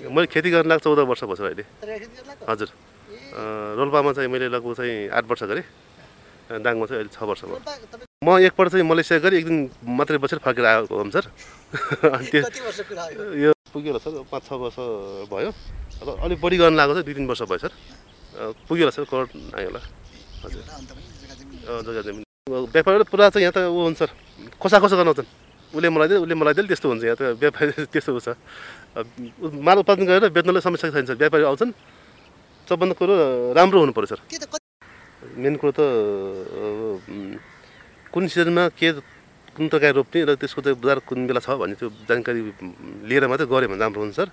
मैले खेती गर्न लाग्छ चौध वर्ष भएको छ अहिले तपाईँ खेती गर्न लाग्नु? हजुर ए, अ, रोल्पामा चाहिँ मैले लगभग चाहिँ आठ वर्ष गरेँ अ, दाङमा चाहिँ अहिले छ वर्ष भयो रोल्पा- तपाईँ म एकपल्ट चाहिँ मलेसिया गरेँ एक दिन मात्रै बसेर फर्केर आएको हो सर अनि त्यो कति वर्ष कुरा हो यो यो? पुग्यो होला सर पाँच छ वर्ष भयो अब अलिक बढी गर्न लागेको छ दुई तिन वर्ष भयो सर अ, पुग्यो होला सर करोड आयो होला एउटा अन्त पनि जग्गा जमिन। अ, जग्गा जमिन अब व्यापारी पुरा चाहिँ यहाँ त ऊ हुन्छ सर खोसा खोसा गर्नुहुन्छ उसले मलाई दियो उसले मलाई दियो त्यस्तो हुन्छ यहाँ त व्यापारी त्यस्तो ऊ छ अब उ- माल उत्पादन गरेर बेच्नलाई समस्या छैन सर व्यापारी आउँछन् सबभन्दा कुरो राम्रो हुनु पऱ्यो सर के त कति मेन कुरो त अ, म, कुन सिजनमा के कुन तरकारी रोप्ने र त्यसको चाहिँ बजार कुन बेला छ भन्ने त्यो जानकारी म, लिएर मात्रै गऱ्यो भने राम्रो हुन्छ सर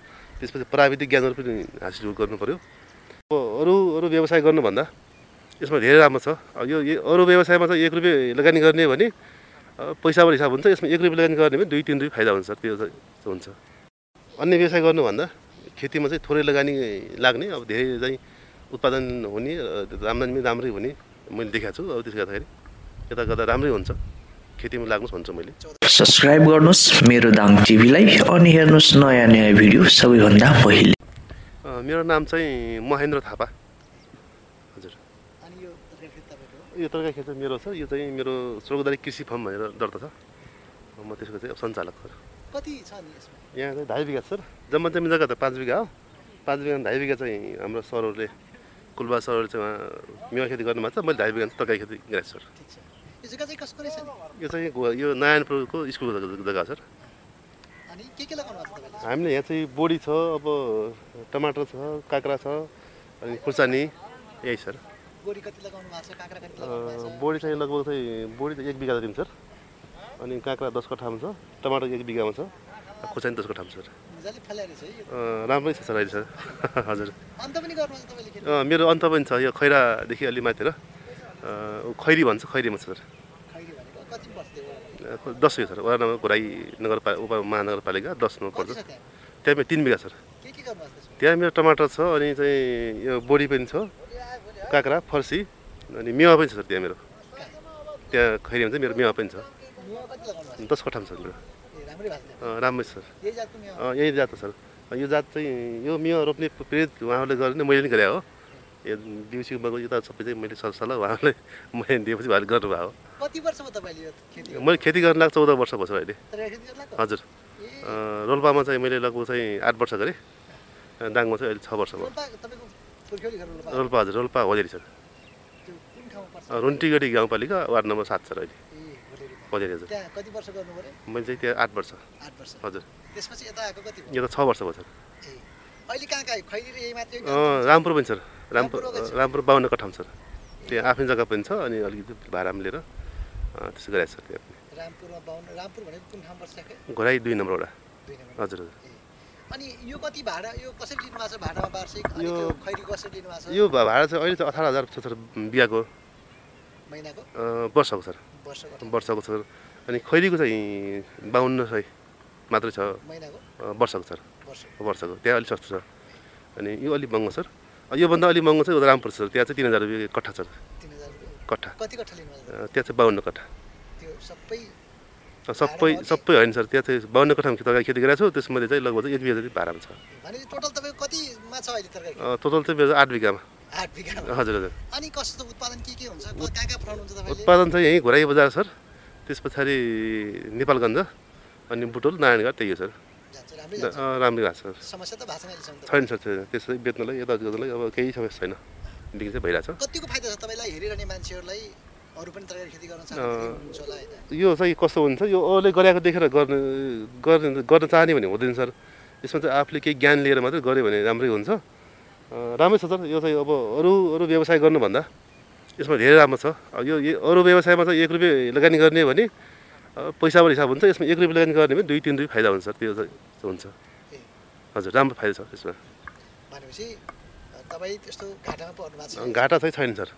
त्यसपछि प्राविधिक ज्ञानहरू पनि हासिल गर्नु पऱ्यो अब अरू अरू व्यवसाय गर्नुभन्दा यसमा धेरै राम्रो छ अब यो यो अरू व्यवसायमा चाहिँ एक रुपियाँ लगानी गर्ने भने अ, पैसाबाट हिसाब हुन्छ यसमा एक रुपियाँ लगानी गर्ने भने दुई तिन रुपियाँ फाइदा हुन्छ सर त्यो चाहिँ हुन्छ अन्य व्यवसाय गर्नुभन्दा खेतीमा चाहिँ थोरै लगानी लाग्ने अब धेरै चाहिँ उत्पादन हुने र आम्दानी पनि राम्रै हुने मैले देखाएको छु अब त्यसो गर्दाखेरि यता गर्दा राम्रै हुन्छ खेतीमा लाग्नुहोस् भन्छु मैले सब्सक्राइब गर्नुहोस् मेरो दाङ टिभीलाई अनि हेर्नुहोस् नयाँ नयाँ भिडियो सबैभन्दा पहिले अ, मेरो नाम चाहिँ महेन्द्र थापा हजुर अनि यो तरकारी खेती तपाईँको हो? यो तरकारी खेत चाहिँ मेरो छ यो चाहिँ मेरो स्वर्गदारी कृषि फर्म भनेर दर्ता छ म त्यसको चाहिँ सञ्चालक सर कति छ नि यसमा यहाँ चाहिँ ढाई बिघा छ सर जम्मा जम्मी जग्गा त पाँच बिघा हो पाँच बिघा ढाई बिघा चाहिँ हाम्रो सरहरूले कुलबा सरहरूले चाहिँ उहाँ मेवा खेती गर्नुभएको छ मैले ढाई बिघा तरकारी खेती गरेको छु सर ठिक छ यो जग्गा चाहिँ कसको रहेछ नि यो चाहिँ गो- यो नारायणपुरको स्कुलको जग्गा- जग्गा हो सर अनि के के लगाउनु भएको छ तपाईँले हामीले यहाँ चाहिँ बोडी छ अब टमाटर छ काँक्रा छ अनि खुर्सानी यही सर बोडी कति लगाउनु भएको छ काँक्रा कति अ, लगाउनु भएको छ बोडी चाहिँ लगभग चाहिँ बोडी चाहिँ एक बिघा जति सर अनि काँक्रा दस कठामा छ टमाटर एक बिघामा छ खुर्सानी दस कठामा छ सर मजाले फैलाएर छ है यो अ, राम्रै छ सर अहिले सर हजुर अन्त पनि गर्नुहुन्छ तपाईँले खेती अ, मेरो अन्त पनि छ यो खैरादेखि अलि माथिर अ, ऊ खैरी भन्छ खैरीमा छ सर खैरी भनेको कति बस्थ्यो अ, दस यो सर वडा नम्बर घोराई नगरपालिका उप महानगरपालिका दसमा पर्छ कति छ त्यहाँ त्यहाँ तिन बिघा सर के के गर्नुभएको छ त्यसमा त्यहाँ मेरो टमाटर छ अनि चाहिँ यो बोडी पनि छ काँक्रा फर्सी अनि मेवा पनि छ सर त्यहाँ मेरो त्यहाँ खैरीमा चाहिँ मेरो मेवा पनि छ मेवा कति लगाउनु भएको दस कठामा छ मेरो छ ए, राम्रै अँ, भएको छ राम्रै छ सर यही जातको मेवा अँ, यही जात हो सर यो जात चाहिँ यो मेवा रोप्ने प्रेरित उहाँहरूले गर्ने नै मैले पनि गरे हो यो दिउँसीको मगज यता सबै चाहिँ मैले सरसल्लाह उहाँहरूले मैले दिएपछि उहाँले गर्नुभएको हो कति वर्षमा तपाईँले यो खेती मैले खेती गर्न लाग्छ चौध वर्ष भएको छ अहिले तरकारी खेती गर्नु भएको हजुर ए अँ, रोल्पामा चाहिँ मैले लगभग चाहिँ आठ वर्ष गरेँ अँ, दाङमा चाहिँ अहिले छ वर्ष भयो रोल्पा तपाईँको पुर्ख्यौली घर रोल्पा रोल्पा हजुर रोल्पा होजेरी सर त्यो कुन ठाउँमा पर्छ रुन्टीगढी गाउँपालिका वार्ड नम्बर सात छ र अहिले ए होटेलमा पजेरी हजुर त्यहाँ कति वर्ष गर्नु पऱ्यो मैले चाहिँ त्यहाँ आठ वर्ष आठ वर्ष हजुर त्यसपछि यता आएको कति यो त छ वर्ष भयो सर भयो ए अहिले कहाँ कहाँ खैली र यही मात्रै हो कि अँ, रामपुर पनि सर रामपुर रामपुरको छ? रामपुर बाहुन्न कठाम सर त्यहाँ आफ्नै जग्गा पनि छ अनि अलिकति भाडामा लिएर अँ, त्यसो गरेको छ त्यहाँ पनि रामपुरमा बाहुन रामपुर भनेको कुन ठाउँ पर्छ ठ्याक्कै घोराई दुई नम्बरवटा दुई नम्बर हजुर हजुर ए अनि यो कति भाडा यो कसरी लिनु भएको छ भाडामा वार्षिक अनि यो- त्यो खैरी कसरी लिनु भएको छ यो भा- भाडा चाहिँ अहिले चाहिँ अठार हजार छ सर बिहाको महिनाको अँ, वर्षको सर वर्षको वर्षको छ सर अनि खैरीको चाहिँ बाहुन्न सय मात्रै छ महिनाको अँ, वर्षको सर वर्ष वर्षको त्यहाँ अलिक सस्तो छ अनि यो अलिक महँगो सर अँ, योभन्दा अलिक महँगो चाहिँ रामपुर छ सर त्यहाँ चाहिँ तिन हजार रुपियाँ कट्ठा छ तिन हजार रुपियाँ कट्ठा कति कट्ठा लिनु भएको छ अँ, त्यहाँ चाहिँ बाहुन्न कट्ठा त्यो सबै अँ, सबै भाडामा सबै होइन सर त्यहाँ चाहिँ बाहुन्न कठामा तरकारी खेती गरेको छु त्यसमध्ये चाहिँ लगभग चाहिँ एक बिघा जति भाडामा छ भनेपछि टोटल तपाईँको कतिमा छ अहिले तरकारी अँ, टोटल चाहिँ मेरो आठ बिघामा आठ बिघामा हजुर हजुर अनि कस्तो उत्पादन के के हुन्छ कहाँ कहाँ पठाउनुहुन्छ तपाईँले उत्पादन चाहिँ यहीँ घोराई बजार सर त्यस पछाडि नेपालगञ्ज अनि बुटोल नारायणघाट त्यही हो सर जान्छ राम्रै द- जान्छ अँ, राम्रै भएको छ सर समस्या त भएको छैन अहिलेसम्म त छैन सर छैन त्यसै बेच्नलाई यता गर्नलाई अब केही समस्या छैन बिक्री चाहिँ भइरहेको छ कतिको फाइदा छ तपाईँलाई हेरिरहने मान्छेहरूलाई अरू पनि तरकारी खेती गर्न अँ। चाहनुहुन्छ हुनुहुन्छ होला होइन यो चाहिँ कस्तो हुन्छ यो अरूले गरेको देखेर गर्ने गर्ने गर्न चाहने भने हुँदैन सर यसमा चाहिँ आफूले केही ज्ञान लिएर मात्रै गऱ्यो भने राम्रै हुन्छ अ, राम्रै छ सर यो चाहिँ अब अरू अरू व्यवसाय गर्नुभन्दा यसमा धेरै राम्रो छ अब यो यो अरू व्यवसायमा चाहिँ एक रुपियाँ लगानी गर्ने भने अ, पैसाबाट हिसाब हुन्छ यसमा एक रुपियाँ लगानी गर्ने भने दुई तिन रुपियाँ फाइदा हुन्छ सर त्यो चाहिँ हुन्छ ए। हजुर राम्रो फाइदा छ यसमा भनेपछि अ, तपाईँ त्यस्तो घाटामा पर्नु भएको अ, छ घाटा चाहिँ छैन सर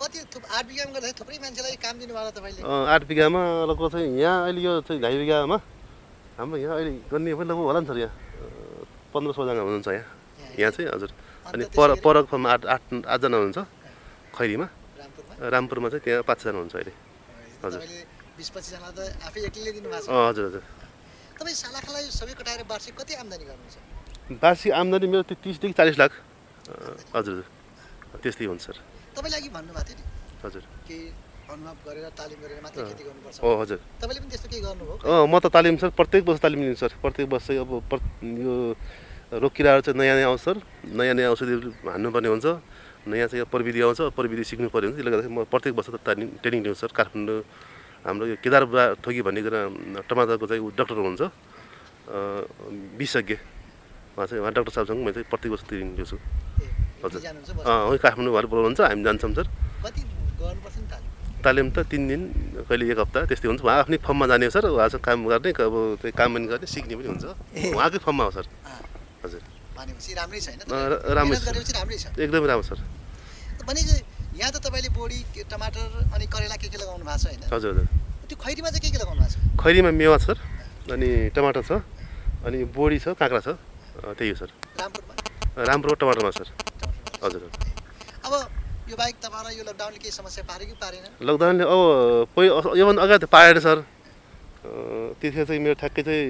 कति थुप आठ बिघामा गर्दाखेरि थुप्रै मान्छेलाई काम दिनुभयो होला तपाईँले अँ, आठ बिघामा लगभग चाहिँ यहाँ अहिले यो चाहिँ ढाई बिघामा हाम्रो यहाँ अहिले गर्ने पनि लगभग होला नि सर यहाँ अँ, पन्ध्र सोह्रजना हुनुहुन्छ यहाँ यहाँ चाहिँ हजुर अनि अन्त पर त्यसरी परक फर्ममा आठ आठ आठजना हुनुहुन्छ खैरीमा रामपुरमा रामपुरमा चाहिँ त्यहाँ पाँच छजना हुन्छ अहिले हजुर। तपाईँले बिस पच्चिसजना त आफै एक्लैले दिनुभएको छ अँ, हजुर हजुर तपाईँ सालाखालाई सबै कटाएर वार्षिक कति आम्दानी गर्नुहुन्छ अँ, वार्षिक आम्दानी मेरो त्यो तिसदेखि चालिस लाख अँ, हजुर हजुर त्यस्तै हुन्छ सर तपाईँले अघि भन्नुभएको थियो नि हजुर केही अनुभव गरेर तालिम गरेर मात्रै खेती गर्नुपर्छ अँ हजुर तपाईँले पनि त्यस्तो केही गर्नुभयो अँ म त तालिम सर प्रत्येक वर्ष तालिम लिन्छु सर प्रत्येक वर्ष चाहिँ अब प्र यो रोग किराहरू चाहिँ नयाँ नयाँ आउँछ सर नयाँ नयाँ औषधिहरू हान्नुपर्ने हुन्छ नयाँ चाहिँ प्रविधि आउँछ प्रविधि सिक्नु पऱ्यो हुन्छ त्यसले गर्दाखेरि म प्रत्येक वर्ष त तालिम ट्रेनिङ लिन्छु सर काठमाडौँ हाम्रो यो केदार बा थोकी भन्नेजना टमाटरको चाहिँ ऊ डाक्टर हुनुहुन्छ अँ, विशेषज्ञ उहाँ चाहिँ उहाँ डाक्टर साहबसँग मैले चाहिँ प्रत्येक वर्ष ट्रेनिङ लिन्छु ए, हजुर जानुहुन्छ अँ बस्नु। उही काठमाडौँ भएर बोलाउनुहुन्छ हामी जान्छौँ सर कति गर्नुपर्छ नि तालिम तालिम त तिन दिन कहिले एक हप्ता त्यस्तै हुन्छ उहाँ आफ्नै फर्ममा जाने हो सर उहाँसँग काम गर्ने अब त्यो काम पनि गर्ने सिक्ने पनि हुन्छ ए। उहाँकै फर्ममा हो सर अँ, हजुर भनेपछि राम्रै छ होइन अँ, र- राम्रै मेहनत छ। गरेपछि राम्रै छ एकदमै राम्रो सर भनेपछि यहाँ त तपाईँले बोडी के- टमाटर अनि करेला के के लगाउनु भएको छ होइन हजुर हजुर त्यो खैरीमा चाहिँ के के लगाउनु भएको छ खैरीमा मेवा छ सर अनि टमाटर छ अनि बोडी छ काँक्रा छ अँ, त्यही हो सर रामपुरमा राम्रो टमाटरमा सर टमाटर हजुर हजुर अब यो बाहेक तपाईँलाई यो लकडाउनले केही समस्या पार्यो कि पारेन लकडाउनले अब पहिलो अस- योभन्दा अगाडि त पाएन सर अँ, त्यसले चाहिँ मेरो ठ्याक्कै चाहिँ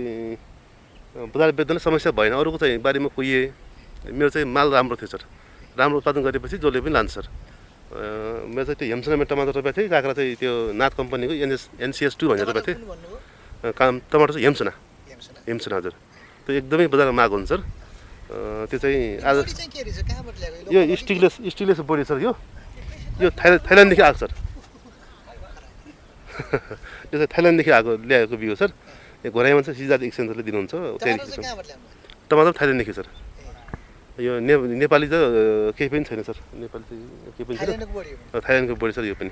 अँ, बजार बेच्दा समस्या भएन अरूको चाहिँ बारीमा कुहिएँ मेरो चाहिँ माल राम्रो थियो सर राम्रो उत्पादन गरेपछि जसले पनि लान्छ सर अँ, मेरो चाहिँ त्यो हेमसनामा टमाटर रोपेको थिएँ काँक्रा चाहिँ त्यो नाथ कम्पनीको एनएस एनसिएस टू भनेर रोपेको टमाटर थिएँ कुन भन्नुभयो? अँ, काम टमाटर चाहिँ हेमसना हेम्सुन। हेमसना हजुर त्यो एकदमै बजारमा माग हुन्छ सर अँ, त्यो चाहिँ आज बोडी चाहिँ के रहेछ? कहाँबाट ल्याएको? यो local body? Stainless stainless body sir यो यो थाइल्यान्ड थाइल्यान्डदेखि आएको सर यो चाहिँ थाइल्यान्डदेखि आएको ल्याएको बिउ हो सर यो घोराइमा चाहिँ सिजात एक्सचेन्जले दिनुहुन्छ टमाटर त्यहाँदेखि चाहिँ कहाँबाट ल्याउनु? टमाटर थाइल्यान्डदेखि सर यो ने नेपाली त अ, केही पनि छैन सर नेपाली चाहिँ केही पनि छैन थाइल्यान्डको बोडी हो। अ, थाइल्यान्डको बोडी सर यो पनि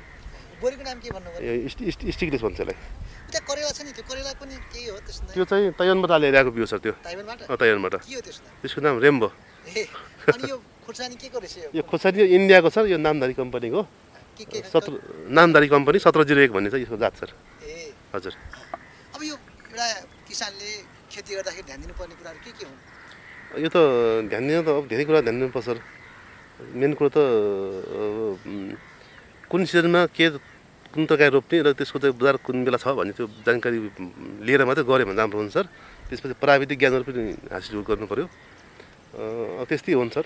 बोडीको नाम के भन्नुभयो? यो स्टि- स्टि- स्टिकलेस भन्छ यसलाई त्यहाँ करेला छ नि, त्यो करेला पनि केही हो त्यसको त्यो नाम? चाहिँ तयानबाट ल्याएर ल्याएको बिउ सर त्यो ताइवानबाट? अ, तयानबाट के हो त्यसको नाम? त्यसको नाम रेम्बो ए, अनि यो खुर्सानी के को रहेछ यो यो? खोर्सानी यो इन्डियाको सर यो नामधारी कम्पनीको के के खालको? सत्र नामधारी कम्पनी सत्र जिरो एक भन्ने छ यसको जात सर ए, हजुर अब यो एउटा किसानले खेती गर्दाखेरि ध्यान दिनुपर्ने कुराहरू के के हुन्? यो त ध्यान दिनु त अब धेरै कुरा ध्यान दिनुपर्छ सर मेन कुरो त अब, उम्, कुन सिजनमा के कुन तरकारी रोप्ने र त्यसको चाहिँ बजार कुन बेला छ भन्ने त्यो जानकारी उम्, लिएर मात्रै गऱ्यो भने राम्रो हुन्छ सर त्यसपछि प्राविधिक ज्ञानहरू पनि हासिल गर्नु पऱ्यो अँ, त्यस्तै हो नि सर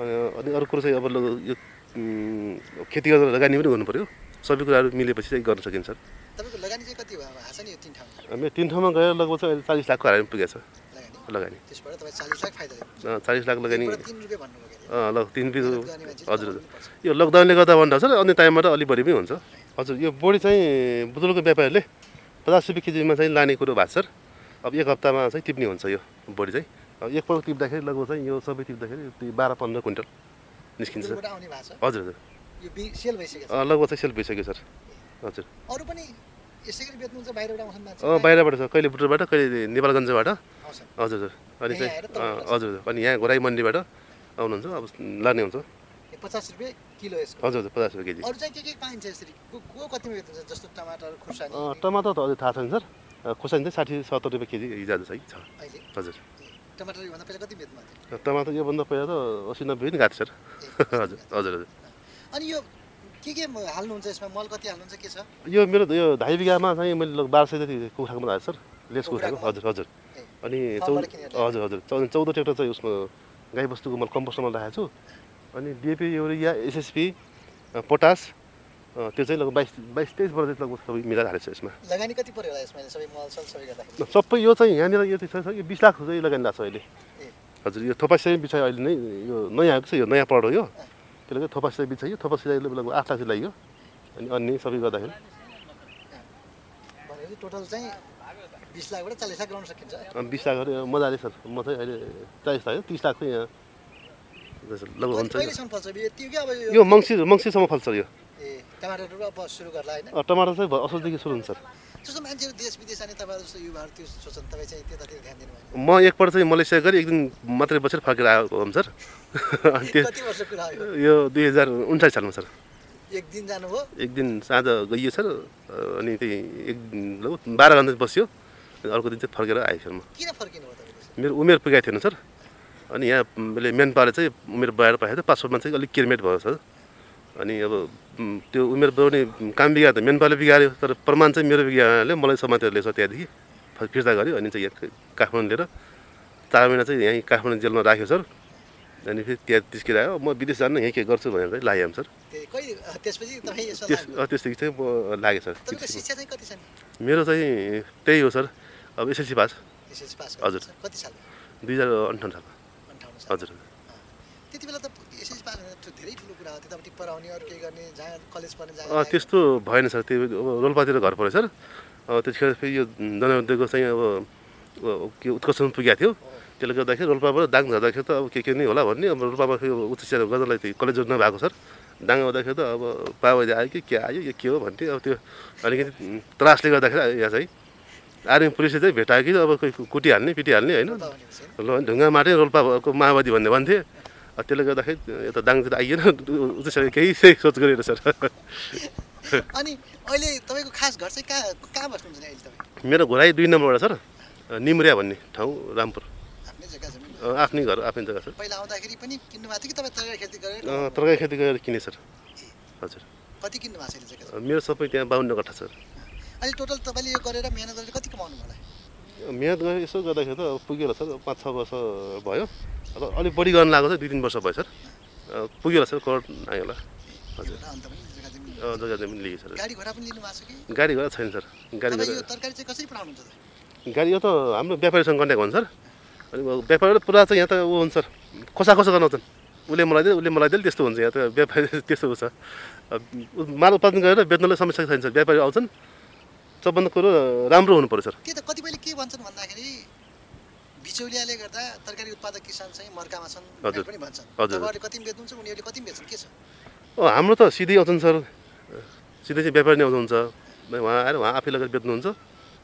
अनि- अनि अर्को कुरो चाहिँ अब ल- यो उम्, खेती गरेर लगानी पनि गर्नु पऱ्यो सबै कुराहरू मिलेपछि चाहिँ गर्न सकिन्छ सर तपाईँको लगानी चाहिँ कति भयो? भएको छ नि यो तिन ठाउँमा हामी तिन ठाउँमा गएर लगभग चाहिँ अहिले चालिस लाखको हारामी पुगेको छ लगानी। लगानी त्यसबाट तपाईँ चालिस लाख फाइदा ल्याउनु। अँ, चालिस लाख लगानी त्यसबाट तिन रुपियाँ भन्नुभयो के अरे? अँ, ल तिन पिस मेहनत गर्ने मान्छेले हजुर हजुर कमाउनुपर्छ। यो लकडाउनले गर्दा भन्दा सर अन्य टाइममा त अलिक बढी पनि हुन्छ हजुर यो बोडी चाहिँ बुदुलको व्यापारीले पचास रुपियाँ केजीमा चाहिँ लाने कुरो भएको छ सर अब एक हप्तामा चाहिँ टिप्ने हुन्छ यो बोडी चाहिँ अब एकपल्ट टिप्दाखेरि लगभग चाहिँ यो सबै टिप्दाखेरि ती बाह्र पन्ध्र क्विन्टल निस्किन्छ सर दुर्गबाट आउने भएको छ। हजुर हजुर यो बि सेल भइसकेको छ अँ, लगभग चाहिँ सेल भइसक्यो सर हजुर अरू पनि यसै गरी बेच्नुहुन्छ बाहिरबाट आउँछन् मान्छे अँ, बाहिरबाट सर कहिले बुटरबाट कहिले नेपालगञ्जबाट आउँछन् हजुर हजुर अनि यहाँ चाहिँ आएर अँ, तपाईँको हजुर हजुर अनि यहाँ घोराई मन्डीबाट आउनुहुन्छ अब लाने हुन्छ यो पचास रुपियाँ किलो यसको हजुर हजुर पचास रुपियाँ केजी अरू चाहिँ के के पाइन्छ यसरी को को कतिमा बेच्नुहुन्छ जस्तो टमाटर खुर्सानी अँ, टमाटर त अझै थाहा छैन सर अँ, खोर्सानी चाहिँ साठी सत्तर रुपियाँ केजी हिजो आज चाहिँ छ अहिले हजुर टमाटर योभन्दा पहिला कति बेच्नु भएको र टमाटर योभन्दा पहिला त असी नब्बे पनि गएको थियो सर थियो ए, हजुर हजुर हजुर अनि यो के के म- हाल्नुहुन्छ यसमा मल कति हाल्नुहुन्छ के छ यो मेरो यो ढाई बिघामा चाहिँ मैले लगभग बाह्र सय जति कुखुराको बनाएको छु, सर लेस कुखुराको कुखुराको? हजुर हजुर ए, अनि चौ फर्मबाट किनेर ल्याएको? हजुर हजुर चौ चौध ट्रेक्टर चाहिँ उसको गाईबस्तुको मैले कम्पोस्टमा राखेको छु अनि डिएपी युरिया एसएसपी अँ, पोटास अँ, त्यो चाहिँ लगभग बाइस बाइस तेइस वर्ष चाहिँ लगभग सबै मिलाएर हालेको छु यसमा लगानी कति पऱ्यो होला यसमा सबै मल सल सबै गर्दाखेरि सबै यो चाहिँ यहाँनिर यो चाहिँ छ- छ, यो बिस लाख चाहिँ लगाइरहेको छ अहिले ए। हजुर यो थोपा सिँचाइ बिच अहिले नै यो नयाँ आएको छ यो नयाँ पढ हो यो त्यसले गर्दा थोपा सिँचाइ बिच यो थोपा सिँचाइ लगभग आठ लाख चाहिँ लाग्यो अनि अन्य सबै गर्दाखेरि भनेपछि टोटल चाहिँ बिस लाखबाट चालिस लाख लगाउन सकिन्छ अनि बिस लाखहरू यो मजाले सर म चाहिँ अहिले चालिस लाख तिस लाख चाहिँ यहाँ जस्तो लगभग कहिले- हुन्छ यो। कहिलेसम्म फल्छ यो त्यो के अब यो मङ्सिर मङ्सिरसम्म फल्छ यो ए टमाटरहरू अब सुरु गर्ला होइन अँ, टमाटर चाहिँ भ- असोजदेखि सुरु हुन्छ सर जस्तो मान्छेहरू देश विदेश अनि तपाईँहरू जस्तो युवाहरू त्यो सोच्छन् तपाईँ चाहिँ त्यतातिर ध्यान दिनु भएन म एकपल्ट चाहिँ मलेसिया गरी एक दिन मात्रै बसेर फर्केर आएको हो सर अनि त्यो कति वर्ष कुरा हो यो? यो दुई हजार उन्चालिस सालमा सर एक दिन जानुभयो एक दिन साँझ गइयो सर अ, अनि त्यही एक दिन लगभग बाह्र घन्टा बस्यो अनि अर्को दिन चाहिँ फर्केर आएँ सर म किन फर्किनु भयो तपाईँले मेरो उमेर पुगेको थिएन सर अनि यहाँ मैले मेन पारा चाहिँ उमेर बढाएर पाएको थियो पासपोर्टमा चाहिँ अलिक किरमेट भयो सर अनि अब म, त्यो उमेर बढाउने काम बिगार त मेन पाराले बिगाऱ्यो तर प्रमाण चाहिँ मेरो बिगारले मलाई समातेर ल्याएको छ त्यहाँदेखि फ- फिर्ता गऱ्यो अनि चाहिँ यहाँ काठमाडौँ लिएर चार महिना चाहिँ यहीँ काठमाडौँ जेलमा राख्यो सर अनि फेरि त्यहाँ तिस्केर आयो म विदेश जानु यहीँ के गर्छु भनेर चाहिँ लाग्यो हामी सर त्यही- कहिले अँ, त्यसपछि तपाईँ यसो त्यस लाग्यो। अँ, त्यसदेखि चाहिँ म लागेँ सर तपाईँको शिक्षा चाहिँ कति छ नि मेरो चाहिँ त्यही हो सर अब एसएलसी पास एसएलसी पास हजुर। गर्नुहुन्छ। कति सालमा दुई हजार अन्ठाउन्न सालमा अन्ठाउन्न साल हजुर त्यति बेला त एसएलसी पास हुने त धेरै ठुलो कुरा हो त्यतापट्टि पढाउने अरू केही गर्ने जहाँ कलेज पढ्ने जहाँ अँ, त्यस्तो भएन सर त्यो अब रोल्पातिर घर पऱ्यो सर अब त्यसखेर फेरि यो जनयुद्धको चाहिँ अब अब के उत्कर्षण पुगेको थियो त्यसले गर्दाखेरि रोल्पाबाट दाङ झर्दाखेरि त अब के के नै होला भन्ने अब रोल्पामा फेरि अब उच्च शिक्षा गर्नलाई त्यो कलेजहरू नभएको सर दाङ आउँदाखेरि त अब बाबाले आयो कि के आयो यो के हो भन्थे अब त्यो अलिकति त्रासले गर्दाखेरि यहाँ चाहिँ आर्मी पुलिसले चाहिँ भेटायो कि अब कोही कुटिहाल्ने पिटिहाल्ने होइन पढाउने हुन्छ नि। ल- ढुङ्गा माटै रोल्पाको माओवादी भन्ने भन्थे अब त्यसले गर्दाखेरि यता दाङतिर आइएन उच्च शिक्षा केही सोच गरेन सर अनि अहिले तपाईँको खास घर चाहिँ कहाँ कहाँ बस्नुहुन्छ नि अहिले तपाईँ मेरो घोडाइ दुई नम्बरबाट सर निमरिया भन्ने ठाउँ रामपुर आफ्नै जग्गा जमिन अ, आफ्नै घर आफ्नै जग्गा सर पहिला आउँदाखेरि पनि किन्नु भएको थियो कि तपाईँ तरकारी खेती गरेर अ, तरकारी खेती गरेर किने सर हजुर कति किन्नु भएको छ अहिले जग्गा अ, मेरो सबै त्यहाँ बाहुन्न कट्ठा सर अहिले टोटल तपाईँले यो गरेर मिहिनेत गरेर कति कमाउनु होला मिहिनेत गरेर यसो गर्दाखेरि त अब पुग्यो होला सर अब पाँच छ वर्ष भयो अब अलिक बढी गर्न लाग्यो सर दुई तिन वर्ष भयो सर अ, पुग्यो होला सर करोड आयो होला हजुर एउटा अन्त पनि जग्गा जमिन अ, जग्गा जमिन लिएँ सर गाडी घोडा पनि लिनु भएको छ कि गाडी घोडा छैन सर गाडी तपाईँ यो घोडा तरकारी चाहिँ कसरी पढाउनुहुन्छ त गाडी यो त हाम्रो व्यापारीसँग कन्ट्याक्ट हुन्छ सर अनि अब व्यापारीबाट पुरा चाहिँ यहाँ त ऊ हुन्छ सर खोसा खोसा गराउँछन् उसले मलाई दियो उसले मलाई दियो त्यस्तो हुन्छ यहाँ त व्यापारी त्यस्तो ऊ छ अब उ- माल उत्पादन गरेर बेच्नलाई समस्या छैन सर व्यापारी आउँछन् सबभन्दा कुरो राम्रो हुनु पऱ्यो सर त्यही त कतिपयले के भन्छन् भन्दाखेरि बिचौलियाले गर्दा तरकारी उत्पादक किसान चाहिँ मर्कामा छन् हजुर। भनेर पनि भन्छन् हजुर। तपाईँहरूले कति पनि बेच्नुहुन्छ उनीहरूले कति पनि बेच्छन् के छ अँ, हाम्रो त सिधै आउँछन् सर सिधै चाहिँ व्यापारी नै आउनुहुन्छ उहाँ आएर उहाँ आफै लगेर बेच्नुहुन्छ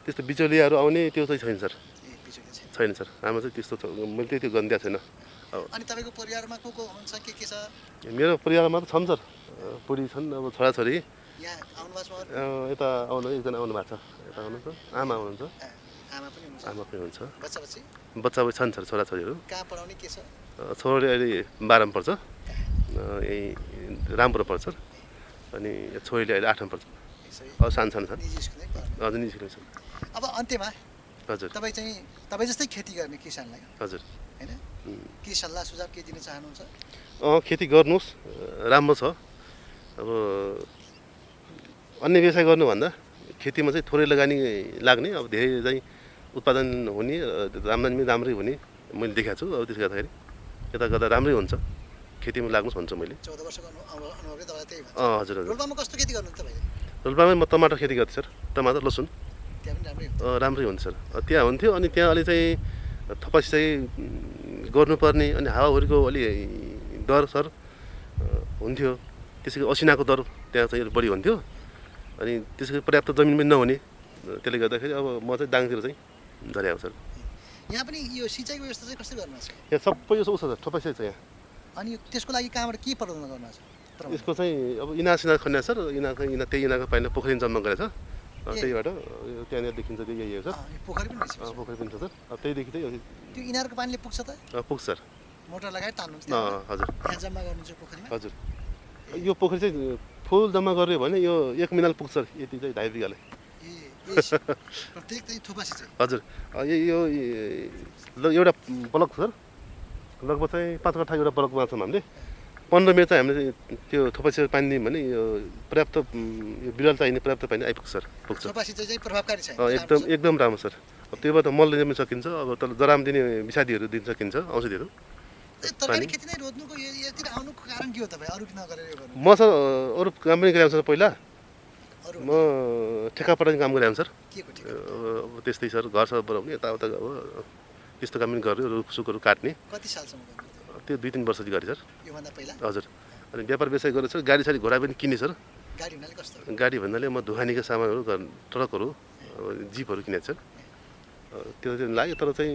त्यस्तो बिचौलियाहरू आउने त्यो चाहिँ छैन सर ए बिचौलिया छैन छैन सर हाम्रो चाहिँ त्यस्तो छ- मैले चाहिँ त्यो गन्ध्या छैन अब अनि तपाईँको परिवारमा को को हुनुहुन्छ के के छ मेरो परिवारमा त छन् सर अ, बुढी छन् अब छोराछोरी यहाँ आउनुभएको छ उहाँहरू? अँ, यता आउनु एकजना आउनु भएको छ यता आउनुहुन्छ आमा हुनुहुन्छ अँ, आमा पनि हुनुहुन्छ आमा पनि हुनुहुन्छ बच्चा बच्ची बच्चा बच्ची छन् सर छोराछोरीहरू कहाँ पढाउने के छ अँ, छोराले अहिले बाह्रमा पर्छ अँ, यही राम्रो पर्छ अनि छोरीले अहिले आठमा पर्छ यसरी अँ, सानो सानो छन् निजी स्कुल पढाउने हजुर निस्किनु छ अब अन्त्यमा हजुर तपाईँ चाहिँ तपाईँ जस्तै खेती गर्ने किसानलाई हजुर होइन के सल्लाह सुझाव के दिन चाहनुहुन्छ अँ, खेती गर्नुहोस् अँ, राम्रो छ अब अन्य व्यवसाय गर्नुभन्दा खेतीमा चाहिँ थोरै लगानी लाग्ने अब धेरै चाहिँ उत्पादन हुने अँ, आम्दानी पनि राम्रै हुने मैले देखाएको छु अब त्यसो गर्दाखेरि यता गर्दा राम्रै हुन्छ खेतीमा लाग्नुहोस् भन्छु मैले चौध वर्षको अनु अनु- अनुभवले तपाईँलाई त्यही भन्छ अँ हजुर हजुर रोल्पामा कस्तो खेती गर्नुहुन्छ तपाईँले रोल्पामै म टमाटर खेती गर्थेँ सर टमाटर लसुन त्यहाँ पनि राम्रै हो अँ, राम्रै हुन्छ सर अँ, त्यहाँ हुन्थ्यो अनि त्यहाँ अलि चाहिँ थपसी चाहिँ उम्, गर्नुपर्ने अनि हावाहुरीको अलि दर सर अँ, हुन्थ्यो त्यसै गरी असिनाको दर त्यहाँ चाहिँ अलिक बढी हुन्थ्यो अनि त्यसै गरी पर्याप्त जमिन पनि नहुने अँ, त्यसले गर्दाखेरि अब म चाहिँ दाङतिर चाहिँ झर्या हो सर यहाँ पनि यो सिँचाइको व्यवस्था चाहिँ कसरी गर्नुभएको छ यहाँ सबै यो उसो छ थपसी छ यहाँ अनि त्यसको लागि कहाँबाट के प्रबन्ध गर्नुभएको छ प्रबन्ध? यसको चाहिँ अब इनासिना खन्या सर इनाको इना त्यही इनाको पानीले पोखरी जम्मा गरेछ अँ, ए। त्यहीबाट अँ, यो त्यहाँनिर देखिन्छ त्यो यही हो सर अँ, यो पोखरी पनि रहेछ अँ, त्यसमा। पोखरी पनि छ सर अब त्यहीदेखि चाहिँ यो- त्यो यिनीहरूको पानीले पुग्छ त अँ, पुग्छ सर मोटर लगाएर तान्नुहुन्छ अँ, त्यहाँबाट? हजुर त्यहाँ जम्मा गर्नुहुन्छ पोखरीमा हजुर यो पोखरी चाहिँ फुल जम्मा गऱ्यो भने यो एक मिनाल पुग्छ सर, यति चाहिँ ढाई बिघाले ए ए, प्रत्येक चाहिँ थुपासी चाहिँ हजुर अँ, यो यो ए, ल- एउटा ब्लक सर लगभग चाहिँ पाँच कट्ठा एउटा ब्लक बनाएको छौँ हामीले पन्ध्र मिनट चाहिँ हामीले त्यो थोपासी पानी दियौँ भने यो पर्याप्त उम्, यो बिरुवा चाहिने पर्याप्त पानी आइपुग्छ सर पुग्छ थुपासी चाहिँ चाहिँ प्रभावकारी छैन अँ, एकदम एकदम राम्रो सर अब त्योबाट मल दिन पनि सकिन्छ अब तल जराम दिने विषादीहरू दिन सकिन्छ औषधिहरू ए, तरकारी पानी। खेती नै रोज्नुको यो- यतिर आउनुको कारण के हो तपाईँ अरू नगरेर यो गर्नु म सर अँ, अरू काम पनि गरेको सर पहिला अरू म ठेक्कापट्टि काम गरेको सर के को ठिक अब अब त्यस्तै सर घर सर बनाउने यताउता अब त्यस्तो काम पनि गर्यो रुख सुखहरू काट्ने कति सालसम्म गर्नु तपाईँ? त्यो दुई तिन वर्ष चाहिँ गरेँ सर योभन्दा पहिला हजुर अनि व्यापार व्यवसाय गरेर सर गाडी साडी घोडा पनि किने सर गाडी हुनाले कस्तो गाडी भन्नाले म धुवानीको सामानहरू गर् ट्रकहरू अब जिपहरू किनेको सर अँ, त्यो चाहिँ लाग्यो तर चाहिँ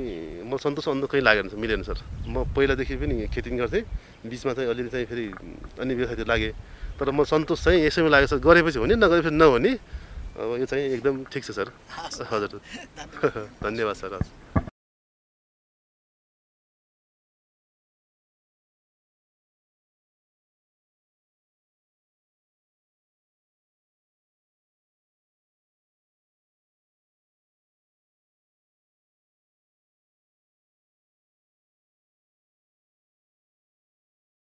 म सन्तोष अन्त कहीँ लागेन सर मिलेन सर म पहिलादेखि पनि खेती पनि गर्थेँ बिचमा चाहिँ अलिअलि चाहिँ फेरि अन्य व्यवसायतिर लागेँ तर म सन्तोष चाहिँ यसैमा लाग्यो सर गरेपछि हुने नगरेपछि नहुने अब यो चाहिँ एकदम ठिक छ सर हस्। हजुर धन्यवाद धन्यवाद सर हजुर